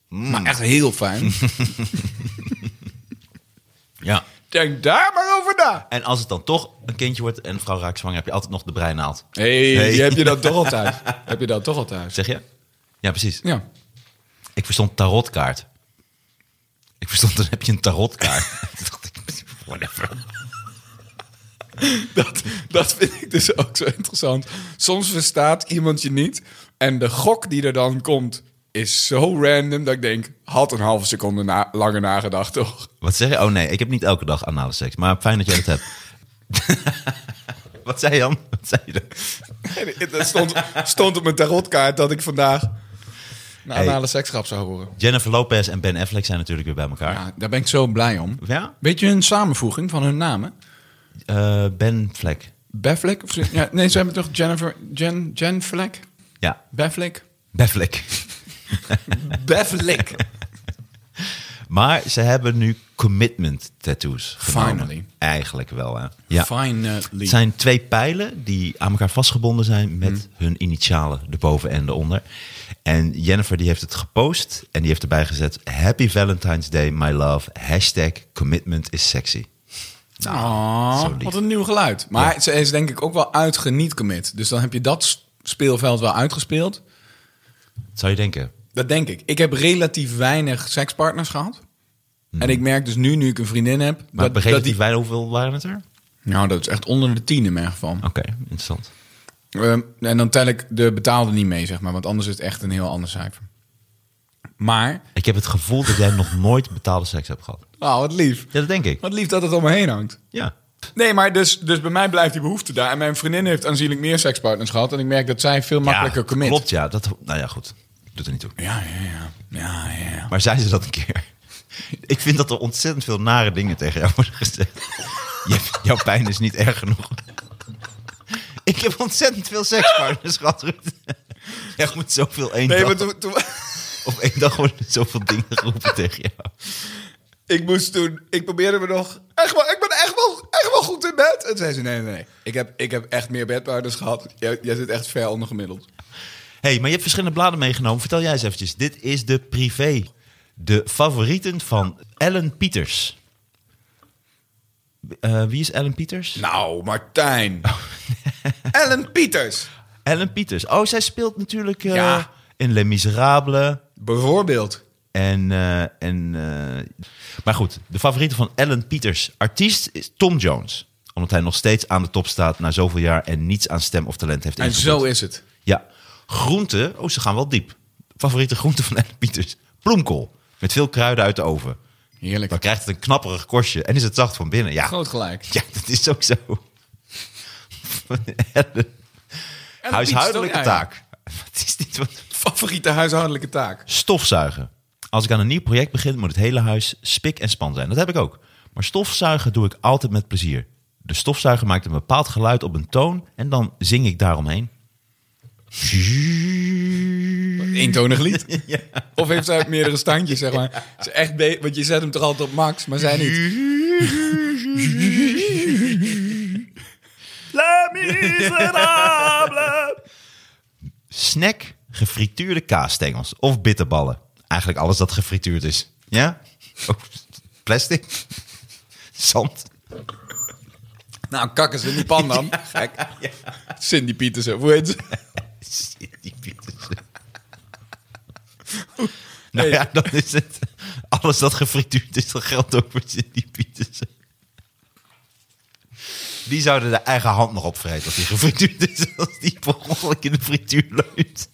Speaker 3: maar echt heel fijn,
Speaker 4: Ja.
Speaker 3: denk daar maar over na.
Speaker 4: En als het dan toch een kindje wordt en een vrouw raakt zwanger, heb je altijd nog de breinaald.
Speaker 3: Hé, hey,
Speaker 4: Hey.
Speaker 3: die heb je dat toch al thuis? heb je dat toch al thuis?
Speaker 4: Zeg je? Ja, precies.
Speaker 3: Ja.
Speaker 4: Ik verstond tarotkaart. Ik verstond, dan heb je een tarotkaart. Toen dacht ik, whatever.
Speaker 3: Dat, dat vind ik dus ook zo interessant. Soms verstaat iemand je niet. En de gok die er dan komt, is zo random dat ik denk... had een halve seconde na, langer nagedacht, toch?
Speaker 4: Wat zeg je? Oh nee, ik heb niet elke dag anale seks, maar fijn dat jij dat hebt. Wat zei je dan? Wat zei je dan?
Speaker 3: Dat stond, stond op mijn tarotkaart dat ik vandaag... naar
Speaker 4: Hey.
Speaker 3: anale seksgrap zou horen.
Speaker 4: Jennifer Lopez en Ben Affleck zijn natuurlijk weer bij elkaar. Ja?
Speaker 3: Ja, daar ben ik zo blij om. Weet je een samenvoeging van hun namen?
Speaker 4: Eh, ben Fleck.
Speaker 3: Befflek? Of, zo- ja, nee, ze hebben toch Jennifer... Jen, Jen Fleck?
Speaker 4: Ja,
Speaker 3: Befflek?
Speaker 4: Ben Fleck.
Speaker 3: Befflek.
Speaker 4: Maar ze hebben nu commitment tattoos genomen.
Speaker 3: Finally.
Speaker 4: Eigenlijk wel, hè? Ja.
Speaker 3: Finally.
Speaker 4: Het zijn twee pijlen die aan elkaar vastgebonden zijn met
Speaker 3: Hmm.
Speaker 4: hun initialen erboven en eronder. En Jennifer die heeft het gepost en die heeft erbij gezet... Happy Valentine's Day, my love. Hashtag commitment is sexy.
Speaker 3: Ah,
Speaker 4: Nou, zo lief.
Speaker 3: wat een nieuw geluid. Maar ze is denk ik ook wel uitgeniet commit. Dus dan heb je dat s- speelveld wel uitgespeeld.
Speaker 4: Zou je denken?
Speaker 3: Dat denk ik. Ik heb relatief weinig sekspartners gehad. En ik merk dus nu, nu ik een vriendin heb...
Speaker 4: Hmm. Maar
Speaker 3: dat,
Speaker 4: begreep
Speaker 3: dat
Speaker 4: dat die... wij hoeveel waren het er?
Speaker 3: Nou, dat is echt onder de tien in mijn geval.
Speaker 4: Oké, interessant.
Speaker 3: Ehm, en dan tel ik de betaalde niet mee, zeg maar. Want anders is het echt een heel ander cijfer. Maar,
Speaker 4: Ik heb het gevoel dat jij nog nooit betaalde seks hebt gehad.
Speaker 3: oh, wat lief.
Speaker 4: Ja, dat denk ik.
Speaker 3: Wat lief dat het om me heen hangt.
Speaker 4: Ja.
Speaker 3: Nee, maar dus, dus bij mij blijft die behoefte daar. En mijn vriendin heeft aanzienlijk meer sekspartners gehad. En ik merk dat zij veel makkelijker
Speaker 4: ja,
Speaker 3: commit.
Speaker 4: Klopt, ja. Dat, nou ja, goed. Doet er niet toe.
Speaker 3: Ja, ja, ja. Ja, ja, ja.
Speaker 4: Maar zei ze dat een keer? Ik vind dat er ontzettend veel nare dingen tegen jou worden gezegd. Je- jouw pijn is niet erg genoeg. Ik heb ontzettend veel sekspartners gehad, Ruud. Jij moet zoveel één
Speaker 3: Nee,
Speaker 4: dag...
Speaker 3: maar toen, toen-
Speaker 4: Op één dag worden er zoveel dingen geroepen tegen jou.
Speaker 3: ik moest toen, ik probeerde me nog, echt wel, ik ben echt wel, echt wel goed in bed. En zei ze, nee, nee, nee, ik heb, ik heb echt meer bedpartners gehad. Jij, jij zit echt ver ondergemiddeld.
Speaker 4: hey, maar je hebt verschillende bladen meegenomen. Vertel jij eens eventjes. Dit is de privé. De favorieten van Ellen Pieters. Eh, wie is Ellen Pieters?
Speaker 3: Nou, Martijn. Ellen Pieters.
Speaker 4: Ellen Pieters. Oh, zij speelt natuurlijk eh,
Speaker 3: Ja.
Speaker 4: in Les Miserables.
Speaker 3: Bijvoorbeeld.
Speaker 4: En, eh, en, eh, maar goed, de favoriete van Ellen Pieters, artiest, is Tom Jones. Omdat hij nog steeds aan de top staat na zoveel jaar en niets aan stem of talent heeft
Speaker 3: En
Speaker 4: ingevoerd.
Speaker 3: zo is het.
Speaker 4: Ja, groente, oh ze gaan wel diep. Favoriete groente van Ellen Pieters, bloemkool. Met veel kruiden uit de oven.
Speaker 3: Heerlijk.
Speaker 4: Dan krijgt het een knapperig korstje en is het zacht van binnen. Ja,
Speaker 3: Groot gelijk.
Speaker 4: ja dat is ook zo. Ellen.
Speaker 3: Ellen
Speaker 4: Huishoudelijke
Speaker 3: Pieters, toch?
Speaker 4: taak. Wat is dit? Wat...
Speaker 3: Ja, ja. favoriete huishoudelijke taak.
Speaker 4: Stofzuigen. Als ik aan een nieuw project begin, moet het hele huis spik en span zijn. Dat heb ik ook. Maar stofzuigen doe ik altijd met plezier. De stofzuiger maakt een bepaald geluid op een toon en dan zing ik daaromheen.
Speaker 3: Eentonig lied. Of heeft zij meerdere standjes, zeg maar. Het is echt be- want je zet hem toch altijd op max, maar zij niet.
Speaker 4: Snack, gefrituurde kaasstengels of bitterballen. Eigenlijk alles dat gefrituurd is. Ja? Ook plastic? Zand?
Speaker 3: Nou, kakken ze in die pan dan. Gek. Cindy Pietersen, hoe heet ze?
Speaker 4: Cindy Pietersen. nou ja, dan is het... Alles dat gefrituurd is, dat geldt ook voor Cindy Pietersen. Die zouden de eigen hand nog opvreten als die gefrituurd is. Als die per ongeluk in de frituur leunt.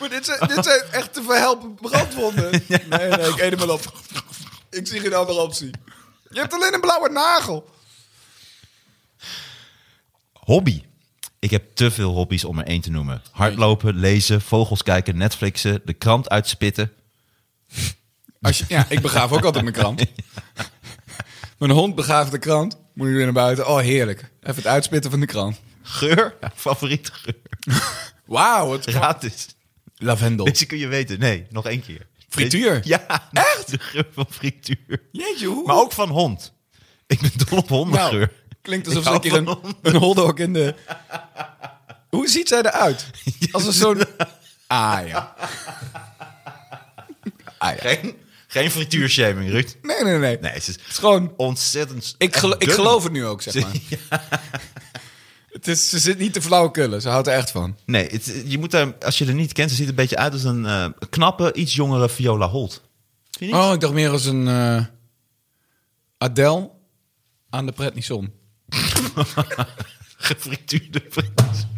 Speaker 3: Maar dit zijn, dit zijn echt te verhelpen brandwonden. Nee, nee, ik eet hem wel op. Ik zie geen andere optie. Je hebt alleen een blauwe nagel.
Speaker 4: Hobby. Ik heb te veel hobby's om er één te noemen. Hardlopen, lezen, vogels kijken, Netflixen, de krant uitspitten.
Speaker 3: Als je, ja, ik begraaf ook altijd mijn krant. Mijn hond begraaft de krant. Moet ik weer naar buiten. Oh, heerlijk. Even het uitspitten van de krant.
Speaker 4: Geur? Favoriete geur.
Speaker 3: Wauw, het
Speaker 4: Gratis.
Speaker 3: Lavendel.
Speaker 4: Deze kun je weten. Nee, nog één keer.
Speaker 3: Frituur?
Speaker 4: Deze- ja. Echt? De geur van frituur.
Speaker 3: Jeetje, hoe?
Speaker 4: Maar ook van hond. Ik ben dol op
Speaker 3: Nou,
Speaker 4: hondengeur.
Speaker 3: klinkt alsof
Speaker 4: Ik
Speaker 3: ze een
Speaker 4: hou
Speaker 3: keer een,
Speaker 4: van honden.
Speaker 3: een holdok in de... Hoe ziet zij eruit? Als een zo'n... Ah ja. Ah ja.
Speaker 4: Geen, geen frituurshaming, Ruud.
Speaker 3: Nee, nee, nee.
Speaker 4: Nee, het is,
Speaker 3: Het is gewoon...
Speaker 4: ontzettend...
Speaker 3: Ik, gelo- ik
Speaker 4: dun.
Speaker 3: geloof het nu ook, zeg maar. Het is, ze zit niet te flauwkullen. Ze houdt er echt van.
Speaker 4: Nee, het- je moet daar, als je er niet kent, dan ziet het een beetje uit als een eh, knappe, iets jongere Viola Holt. Vind je niet?
Speaker 3: Oh, ik dacht meer als een eh Adele aan de Pretnison.
Speaker 4: Gefrituurde friet.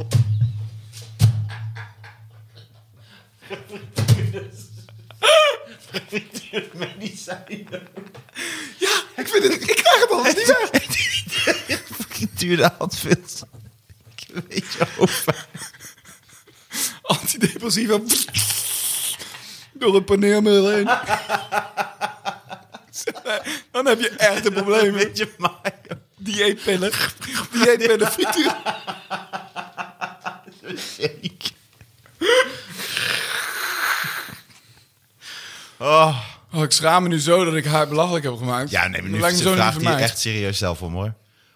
Speaker 3: Ik vind het... Ik krijg het al niet weg.
Speaker 4: Gefrituurde handvils. Ik weet je over.
Speaker 3: Antidepressiva. Door een paneermiddel heen. Dan heb je echt een
Speaker 4: Een
Speaker 3: probleem.
Speaker 4: beetje mayo.
Speaker 3: Dieetpillen. Dieetpillen frituur.
Speaker 4: Zeker. Oh.
Speaker 3: Oh, ik schaam me nu zo dat ik haar belachelijk heb gemaakt.
Speaker 4: Ja, nee, maar nu
Speaker 3: Dat lijkt me zo
Speaker 4: vraagt
Speaker 3: niet
Speaker 4: hij
Speaker 3: van mij.
Speaker 4: echt serieus zelf om, hoor.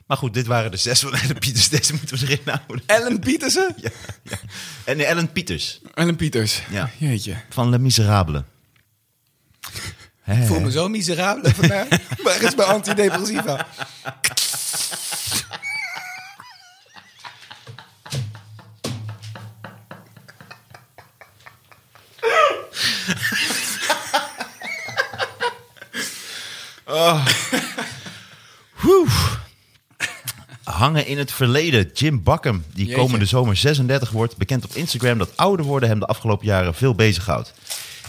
Speaker 4: Maar goed, dit waren de zes van Ellen Pieters. Deze moeten we erin houden.
Speaker 3: Ellen Pietersen?
Speaker 4: Ja, ja. En de Ellen Pieters
Speaker 3: Ellen Pieters.
Speaker 4: Ja.
Speaker 3: Jeetje.
Speaker 4: van Le Miserabele.
Speaker 3: Ik voel me zo miserabel vandaag. Waar is mijn antidepressiva?
Speaker 4: Hangen in het verleden. Jim Bakken, die
Speaker 3: Jeetje.
Speaker 4: komende zomer 36 wordt, bekend op Instagram dat ouder worden hem de afgelopen jaren veel bezighoudt.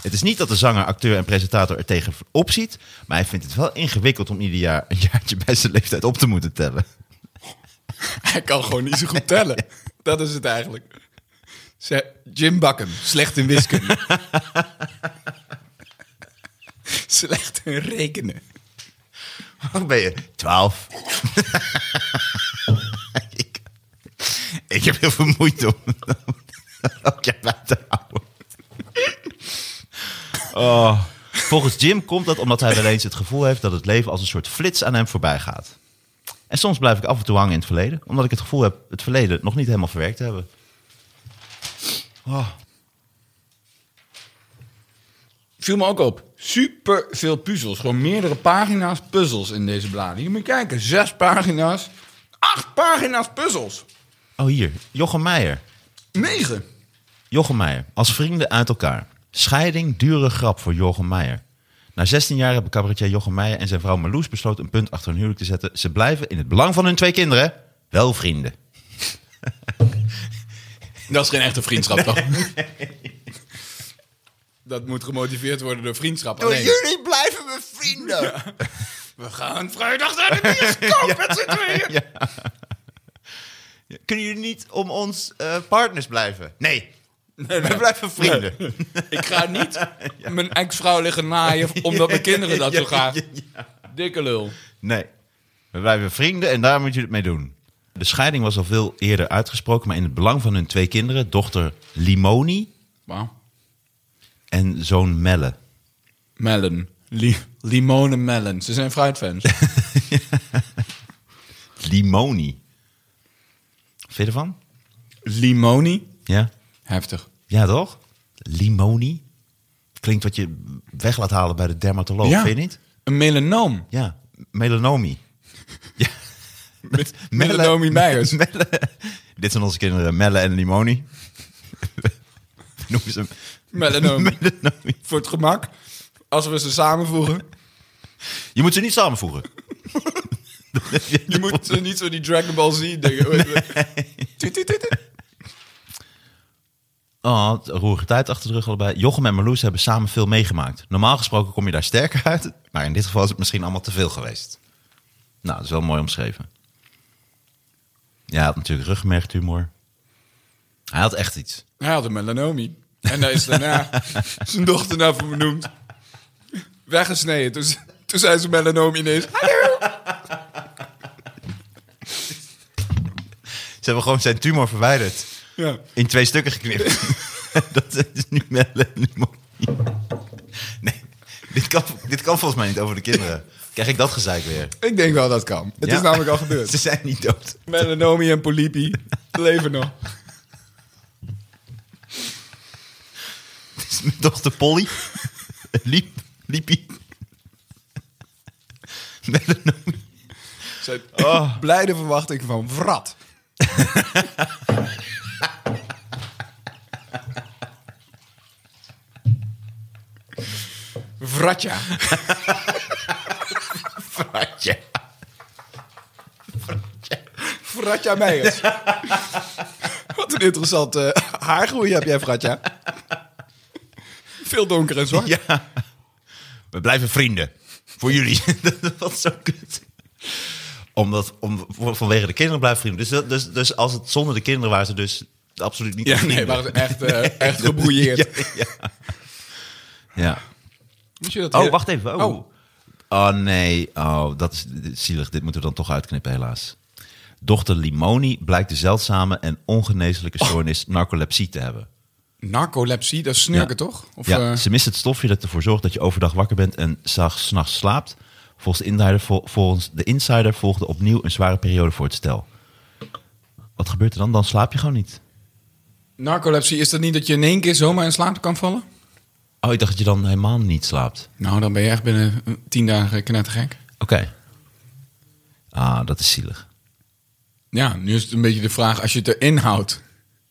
Speaker 4: Het is niet dat de zanger, acteur en presentator er tegen opziet, maar hij vindt het wel ingewikkeld om ieder jaar een jaartje bij zijn leeftijd op te moeten tellen.
Speaker 3: Hij kan gewoon niet zo goed tellen. Dat is het eigenlijk. Ze- Jim Bakken, slecht in wiskunde. slecht in rekenen.
Speaker 4: Hoe ben je? 12. ik, ik heb heel veel moeite om elk jaar bij te houden. Oh. Volgens Jim komt dat omdat hij wel eens het gevoel heeft dat het leven als een soort flits aan hem voorbij gaat. En soms blijf ik af en toe hangen in het verleden, omdat ik het gevoel heb het verleden nog niet helemaal verwerkt te hebben. Oh.
Speaker 3: Viel me ook op. Super veel puzzels. Gewoon meerdere pagina's puzzels in deze bladen. Je moet kijken. Zes pagina's. Acht pagina's puzzels.
Speaker 4: oh, hier. Jochem Meijer.
Speaker 3: Negen.
Speaker 4: Jochem Meijer, als vrienden uit elkaar. Scheiding, dure grap voor Jochem Meijer. Na 16 jaar hebben cabaretier Jochem Meijer en zijn vrouw Marloes besloten een punt achter hun huwelijk te zetten. Ze blijven in het belang van hun twee kinderen wel vrienden.
Speaker 3: Dat is geen echte vriendschap toch? Dat moet gemotiveerd worden door vriendschap. alleen.
Speaker 4: Oh, jullie blijven mijn vrienden.
Speaker 3: We gaan vrijdag naar de bioscoop met z'n tweeën.
Speaker 4: Ja. Kunnen jullie niet om ons eh, partners blijven? Nee. We blijven vrienden.
Speaker 3: Ik ga niet mijn ex-vrouw liggen naaien omdat mijn kinderen dat zo graag. Dikke lul.
Speaker 4: Nee. We blijven vrienden en daar moet je het mee doen. De scheiding was al veel eerder uitgesproken, maar in het belang van hun twee kinderen, dochter Limoni
Speaker 3: Wauw.
Speaker 4: en zoon Melle.
Speaker 3: Melon. Li limonen melon. Ze zijn fruitfans.
Speaker 4: Limoni. Vind je ervan?
Speaker 3: Limoni.
Speaker 4: Ja?
Speaker 3: Heftig.
Speaker 4: Ja, toch? Limoni? Klinkt wat je weg laat halen bij de dermatoloog, Oh, vind je niet?
Speaker 3: Een melanoom.
Speaker 4: Ja, melanomi. ja.
Speaker 3: Met
Speaker 4: Melle-
Speaker 3: melanomi Meijers.
Speaker 4: Melle. Dit zijn onze kinderen, Melle en Limoni. Noemen ze hem
Speaker 3: Melanoom.
Speaker 4: melanomi.
Speaker 3: Voor het gemak. Als we ze samenvoegen.
Speaker 4: Je moet ze niet samenvoegen.
Speaker 3: Je moet ze niet zo die Dragon Ball Z dingen. Tuut, tuut, tuut, tuut.
Speaker 4: Oh, het roerige tijd achter de rug allebei. Jochem en Marloes hebben samen veel meegemaakt. Normaal gesproken kom je daar sterker uit. Maar in dit geval is het misschien allemaal te veel geweest. Nou, dat is wel mooi omschreven. Ja, hij had natuurlijk rugmergtumor. Hij had echt iets.
Speaker 3: Hij had een melanomi. En daar is daarna zijn dochter naar vernoemd. Weggesneden. Toen, ze- toen zei ze melanomi ineens.
Speaker 4: Ze hebben gewoon zijn tumor verwijderd.
Speaker 3: Ja.
Speaker 4: In twee stukken geknipt. dat is nu melanomonie. nee, dit kan, dit kan volgens mij niet over de kinderen. Krijg ik dat gezeik weer?
Speaker 3: Ik denk wel dat kan. Het
Speaker 4: Ja.
Speaker 3: is namelijk al gebeurd.
Speaker 4: Ze zijn niet dood.
Speaker 3: Melanomi en polypi leven nog.
Speaker 4: Het is mijn dochter Polly. Liep, Liepie. Melanomi.
Speaker 3: Zijn
Speaker 4: Oh.
Speaker 3: blijde verwachting van vrat. Vratja.
Speaker 4: Fratje.
Speaker 3: Vratja Meijers. Wat een interessante haargroei heb jij, Vratja. Veel donker en zwart.
Speaker 4: Ja. We blijven vrienden. Voor jullie. Wat zo kut. Omdat, om, voor- vanwege de kinderen blijven vrienden. Dus, dat- dus, dus als het zonder de kinderen waren ze dus absoluut niet
Speaker 3: Ja,
Speaker 4: vrienden.
Speaker 3: nee, maar het is echt, eh, echt gebroeierd.
Speaker 4: Ja, ja. ja.
Speaker 3: Moet je dat
Speaker 4: Oh,
Speaker 3: weer-
Speaker 4: wacht even. Oh. oh. nee. Oh, dat is zielig. Dit moeten we dan toch uitknippen, helaas. Dochter Limoni blijkt de zeldzame en ongeneeslijke stoornis narcolepsie te hebben.
Speaker 3: Narcolepsie, dat is snurken,
Speaker 4: Ja.
Speaker 3: toch? Of,
Speaker 4: ja,
Speaker 3: eh,
Speaker 4: ze mist het stofje dat ervoor zorgt dat je overdag wakker bent en s'nachts s'nachts slaapt. Volgens de, insider, vol- volgens de insider volgde opnieuw een zware periode voor het stel. Wat gebeurt er dan? Dan slaap je gewoon niet.
Speaker 3: narcolepsie, is dat niet dat je in één keer zomaar in slaap kan vallen?
Speaker 4: Oh, ik dacht dat je dan helemaal niet slaapt.
Speaker 3: Nou, dan ben je echt binnen eh, tien dagen knettergek.
Speaker 4: Oké. Ah, dat is zielig.
Speaker 3: Ja, nu is het een beetje de vraag, als je het erin houdt,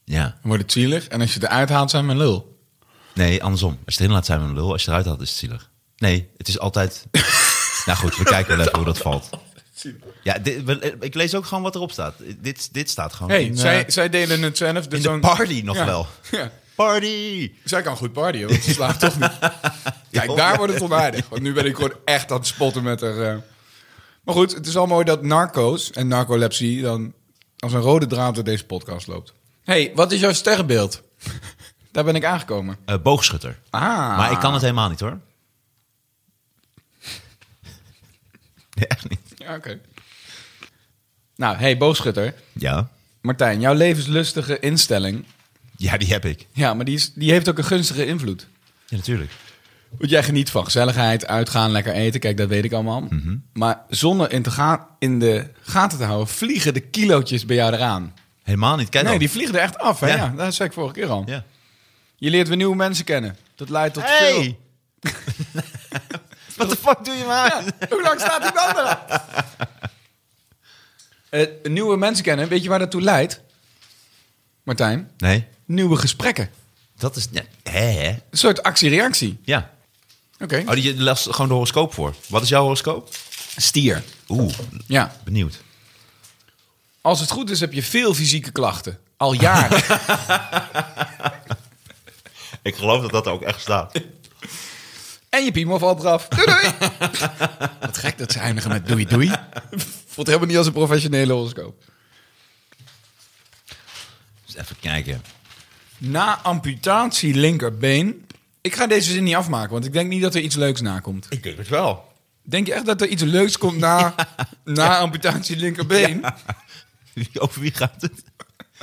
Speaker 4: Ja.
Speaker 3: dan wordt het zielig. En als je het eruit haalt, zijn we een lul.
Speaker 4: Nee, andersom. Als je het erin laat zijn we een lul. Als je eruit haalt is het zielig. Nee, het is altijd... nou goed, we kijken wel even hoe dat valt. Ja, dit- we- ik lees ook gewoon wat erop staat. Dit, dit staat gewoon
Speaker 3: hey,
Speaker 4: in, eh,
Speaker 3: zij, zij delen het zelf. Dus
Speaker 4: in de
Speaker 3: dan-
Speaker 4: party nog
Speaker 3: Ja,
Speaker 4: wel.
Speaker 3: Ja.
Speaker 4: Party!
Speaker 3: Zij kan goed partyen, want ze slaapt toch niet. Kijk, daar wordt het onaardig. Want nu ben ik gewoon echt aan het spotten met haar. eh. Maar goed, het is al mooi dat narco's en narcolepsie dan als een rode draad door deze podcast loopt. hey, wat is jouw sterrenbeeld? Daar ben ik aangekomen.
Speaker 4: Eh, boogschutter.
Speaker 3: Ah.
Speaker 4: Maar ik kan het helemaal niet hoor. Nee, echt niet.
Speaker 3: Ja, oké. Nou, hey, boogschutter.
Speaker 4: Ja?
Speaker 3: Martijn, jouw levenslustige instelling.
Speaker 4: Ja, die heb ik.
Speaker 3: Ja, maar die, is, die heeft ook een gunstige invloed.
Speaker 4: Ja, natuurlijk.
Speaker 3: Want jij geniet van gezelligheid, uitgaan, lekker eten. Kijk, dat weet ik allemaal. Maar zonder in, te ga- in de gaten te houden, vliegen de kilootjes bij jou eraan.
Speaker 4: Helemaal niet. Kijk
Speaker 3: Nee,
Speaker 4: dan.
Speaker 3: die vliegen er echt af. Hè?
Speaker 4: Ja.
Speaker 3: Ja. dat zei ik vorige keer al.
Speaker 4: Ja.
Speaker 3: Je leert weer nieuwe mensen kennen. Dat leidt tot veel...
Speaker 4: Hey! What the fuck doe je maar?
Speaker 3: Hoe lang staat die dan eraan? Eh, nieuwe mensen kennen, weet je waar dat toe leidt? Martijn,
Speaker 4: Nee,
Speaker 3: nieuwe gesprekken.
Speaker 4: dat is... Ja. Hè, hè?
Speaker 3: Een soort actie-reactie.
Speaker 4: Ja.
Speaker 3: Oké.
Speaker 4: Oh, die je las gewoon de horoscoop voor. Wat is jouw horoscoop?
Speaker 3: Stier.
Speaker 4: Oeh,
Speaker 3: Ja.
Speaker 4: benieuwd.
Speaker 3: Als het goed is, heb je veel fysieke klachten. Al jaren.
Speaker 4: Ik geloof dat dat ook echt staat.
Speaker 3: En je piemel valt eraf. Doei doei. Wat gek dat ze eindigen met doei doei. Voelt helemaal niet als een professionele horoscoop.
Speaker 4: Even kijken.
Speaker 3: Na amputatie linkerbeen. Ik ga deze zin niet afmaken, want ik denk niet dat er iets leuks na komt.
Speaker 4: Ik denk het wel.
Speaker 3: Denk je echt dat er iets leuks komt na, na amputatie linkerbeen?
Speaker 4: Over wie gaat het?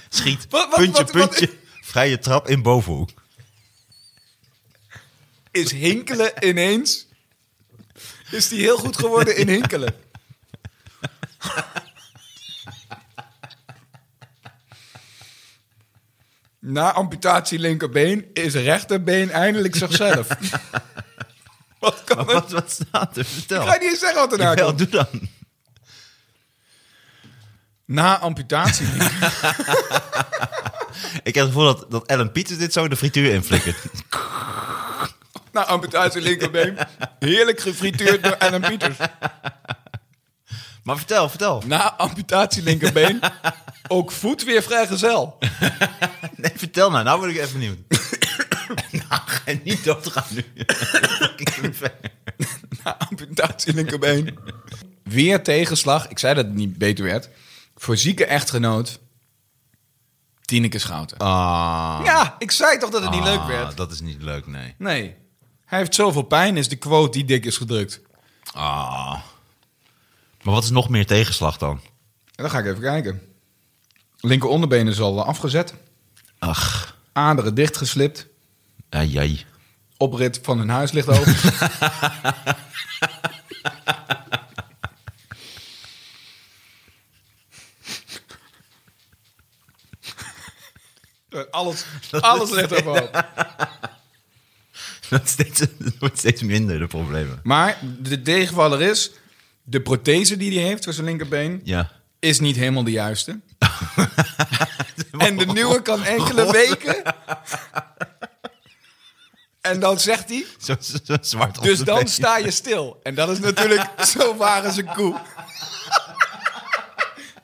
Speaker 4: Schiet.
Speaker 3: Wat- wat-
Speaker 4: puntje,
Speaker 3: wat- wat-
Speaker 4: puntje. Vrije trap in bovenhoek.
Speaker 3: Is hinkelen ineens... Is die heel goed geworden in hinkelen? Na amputatie linkerbeen is rechterbeen eindelijk zichzelf. Wat kan het?
Speaker 4: Wat, wat staat er? Vertel.
Speaker 3: Ik ga niet eens zeggen wat er nou
Speaker 4: Wel,
Speaker 3: komt.
Speaker 4: doe dan.
Speaker 3: Na amputatie
Speaker 4: Ik heb het gevoel dat, dat Ellen Pieters dit zo in de frituur inflikkert.
Speaker 3: Nou, amputatie linkerbeen. Heerlijk gefrituurd door Alan Pieters.
Speaker 4: maar vertel, vertel.
Speaker 3: Na amputatie linkerbeen. Ook voet weer vrijgezel.
Speaker 4: Nee, vertel nou. Nou word ik even benieuwd. nou, ga je niet doodgaan nu. Fucking ver.
Speaker 3: Na amputatie linkerbeen. Weer tegenslag. Ik zei dat het niet beter werd. Voor zieke echtgenoot. Tineke Schouten.
Speaker 4: Ah,
Speaker 3: Ja, ik zei toch dat het niet leuk
Speaker 4: ah,
Speaker 3: werd.
Speaker 4: Dat is niet leuk, nee.
Speaker 3: Nee. Hij heeft zoveel pijn, is de quote die dik is gedrukt.
Speaker 4: Ah. Maar wat is nog meer tegenslag dan?
Speaker 3: Dan ga ik even kijken. Linker onderbeen is al eh, afgezet.
Speaker 4: Ach,
Speaker 3: Aderen dichtgeslipt.
Speaker 4: ai, ai.
Speaker 3: oprit van hun huis ligt open. alles alles ligt overhoop.
Speaker 4: Dat, is steeds, dat wordt steeds minder, de problemen.
Speaker 3: Maar de tegenvaller is... de prothese die hij heeft voor zijn linkerbeen...
Speaker 4: Ja.
Speaker 3: is niet helemaal de juiste. en de nieuwe kan enkele weken... En dan zegt hij...
Speaker 4: Zo, zo, zo zwart op
Speaker 3: Dus
Speaker 4: de
Speaker 3: dan
Speaker 4: been.
Speaker 3: sta je stil. En dat is natuurlijk zo waar als een koe.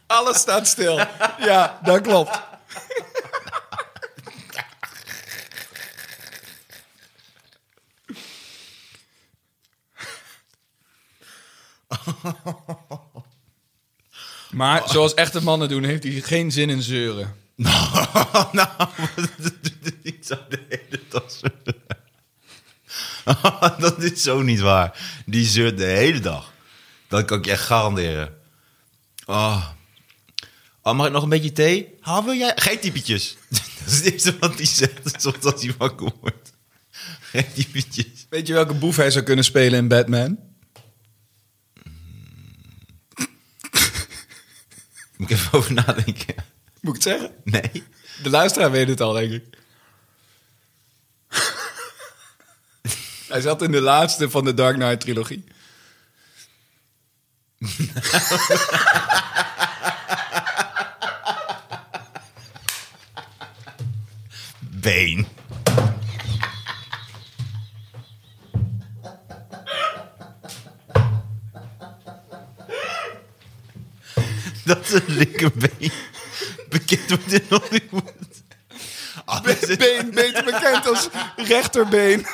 Speaker 3: Alles staat stil. Ja, dat klopt. Maar zoals echte mannen doen, heeft hij geen zin in zeuren.
Speaker 4: nou, ik zou de hele dag zeuren. dat is zo niet waar. Die zeurt de hele dag. Dat kan ik je echt garanderen. Oh. Oh, mag ik nog een beetje thee? Ha, wil jij? Geen typetjes. dat is het eerste wat hij zegt, zodat hij wakker wordt. Geen typetjes.
Speaker 3: Weet je welke boef hij zou kunnen spelen in Batman?
Speaker 4: Moet ik even over nadenken.
Speaker 3: Moet ik het zeggen?
Speaker 4: Nee.
Speaker 3: De luisteraar weet het al, denk ik. Hij zat in de laatste van de Dark Knight trilogie.
Speaker 4: Been. Dat is een linkerbeen. Bekend wordt in Hollywood. Ah, dit is-
Speaker 3: Been, beter bekend als rechterbeen.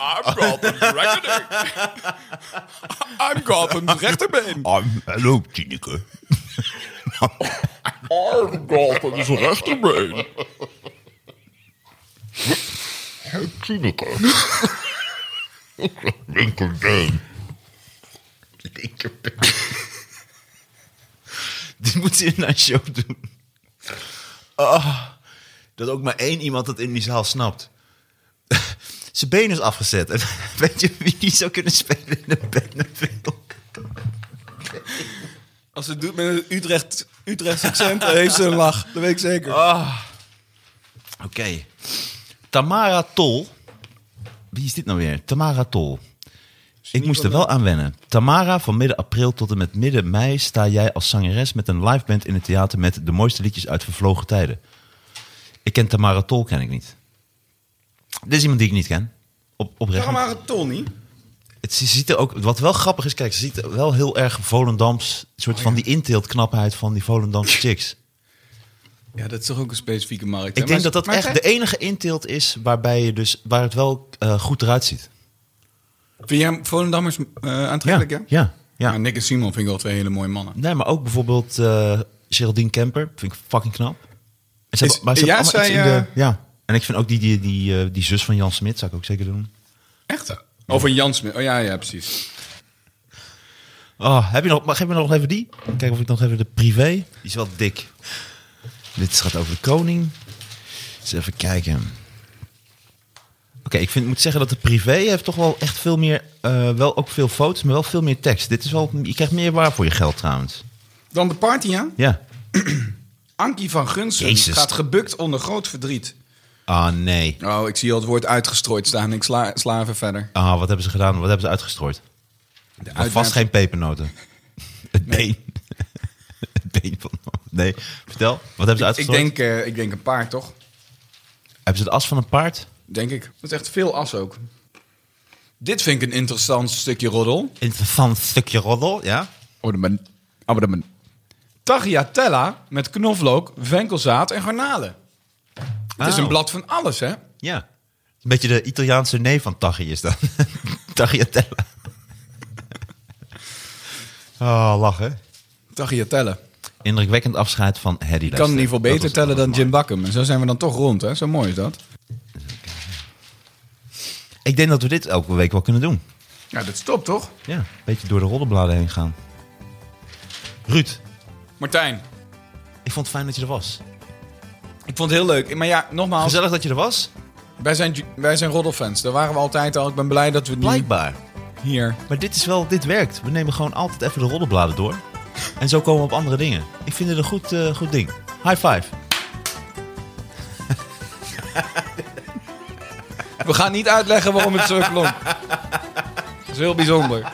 Speaker 3: I'm Goblin's rechterbeen. I'm Goblin's rechterbeen.
Speaker 4: Ah, hallo, Tineke.
Speaker 2: arm golven is rechterbeen. Het Tineke. Linkerbeen. Linkerbeen.
Speaker 4: Dit moet ze in haar show doen. Ah, dat ook maar één iemand dat in die zaal snapt. Zijn been is afgezet. En weet je wie die zou kunnen spelen in een Batman-film?
Speaker 3: Als het doet met een Utrecht, Utrechtse accent, dan heeft ze een lach. Ah. Dat weet ik zeker.
Speaker 4: Oké. Tamara Tol. Wie is dit nou weer? Tamara Tol. Ik moest er wel aan wennen. Tamara, van midden april tot en met midden mei sta jij als zangeres met een live band in het theater met de mooiste liedjes uit vervlogen tijden. Ik ken Tamara Tol, ken ik niet. Dit is iemand die ik niet ken. Op, oprecht.
Speaker 3: Waarom waren het Tony?
Speaker 4: Het, ze ziet er ook, wat wel grappig is, kijk, ze ziet er wel heel erg Volendams, soort van die inteeltknapheid van die Volendamse chicks.
Speaker 3: Ja, dat is toch ook een specifieke markt.
Speaker 4: Ik denk dat dat echt de enige inteelt is waarbij je dus, waar het wel eh, goed eruit ziet.
Speaker 3: Vind jij Volendammers eh, aantrekkelijk, ja?
Speaker 4: ja, ja. Ja.
Speaker 3: Maar Nick en Simon vind ik wel twee hele mooie mannen.
Speaker 4: Nee, maar ook bijvoorbeeld eh Geraldine Kemper. Vind ik fucking knap. En ze
Speaker 3: Is-
Speaker 4: hebben- maar ze
Speaker 3: ja,
Speaker 4: hebben allemaal
Speaker 3: zij, eh,
Speaker 4: iets in de- ja. En ik vind ook die, die, die, eh, die zus van Jan Smit zou ik ook zeker doen.
Speaker 3: Echt? Over Jan Smit. Oh ja, ja, precies.
Speaker 4: Oh, heb je nog, maar geef me nog even die. Kijken of ik nog even de privé. Die is wel dik. Dit gaat over de koning. Eens even kijken. Oké, ik vind, moet zeggen dat de privé heeft toch wel echt veel meer... eh, wel ook veel foto's, maar wel veel meer tekst. Dit is wel, je krijgt meer waar voor je geld trouwens.
Speaker 3: Dan de party, ja?
Speaker 4: Ja.
Speaker 3: Ankie van Gunsum
Speaker 4: Jezus.
Speaker 3: gaat gebukt onder groot verdriet.
Speaker 4: Ah, nee.
Speaker 3: Oh, ik zie al het woord uitgestrooid staan. Ik sla, sla even verder.
Speaker 4: Ah, wat hebben ze gedaan? Wat hebben ze uitgestrooid? Maar
Speaker 3: uitwerp-
Speaker 4: vast geen pepernoten. Het been. Het been van... Nee, vertel. Wat hebben ze
Speaker 3: Ik
Speaker 4: uitgestrooid?
Speaker 3: denk, eh, ik denk een paard, toch?
Speaker 4: Hebben ze het as van een paard?
Speaker 3: Denk ik. Dat is echt veel as ook. Dit vind ik een interessant stukje roddel.
Speaker 4: Interessant stukje roddel, ja?
Speaker 3: Ornament. Abonnement. Tagliatella met knoflook, venkelzaad en garnalen. Het is
Speaker 4: Wauw.
Speaker 3: een blad van alles, hè?
Speaker 4: Ja. Een beetje de Italiaanse nee van Taggi is dat. Tagliatella. Oh, lachen.
Speaker 3: Tagliatella.
Speaker 4: Indrukwekkend afscheid van Hedy
Speaker 3: Ik kan in ieder geval beter tellen dan Jim Bakken. En zo zijn we dan toch rond, hè? Zo mooi is dat.
Speaker 4: Ik denk dat we dit elke week wel kunnen doen.
Speaker 3: Ja, dat stopt toch?
Speaker 4: Ja, een beetje door de roddelbladen heen gaan. Ruud,
Speaker 3: Martijn,
Speaker 4: ik vond het fijn dat je er was.
Speaker 3: ik vond het heel leuk. Maar ja, nogmaals,
Speaker 4: Gezellig dat je er was.
Speaker 3: wij zijn, ju- wij zijn roddelfans. Daar waren we altijd al. Ik ben blij dat we het nu
Speaker 4: Blijkbaar.
Speaker 3: hier...
Speaker 4: Maar dit is wel, dit werkt. We nemen gewoon altijd even de roddelbladen door. En zo komen we op andere dingen. Ik vind het een goed, eh, goed ding. High five.
Speaker 3: We gaan niet uitleggen waarom het zo klonk. Dat is heel bijzonder.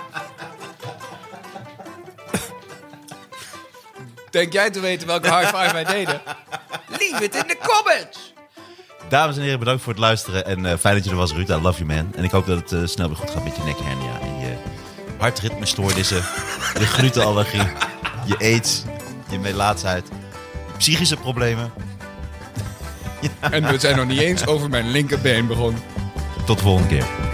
Speaker 3: Denk jij te weten welke high five wij deden? Leave it in the comments!
Speaker 4: Dames en heren, bedankt voor het luisteren. En eh, fijn dat je er was, Ruud. I love you, man. En ik hoop dat het eh, snel weer goed gaat met je nekhernia. En je hartritmestoornissen. je glutenallergie. Je aids. Je melaatsheid. Je psychische problemen.
Speaker 3: En we zijn nog niet eens over mijn linkerbeen begonnen.
Speaker 4: Tot de volgende keer.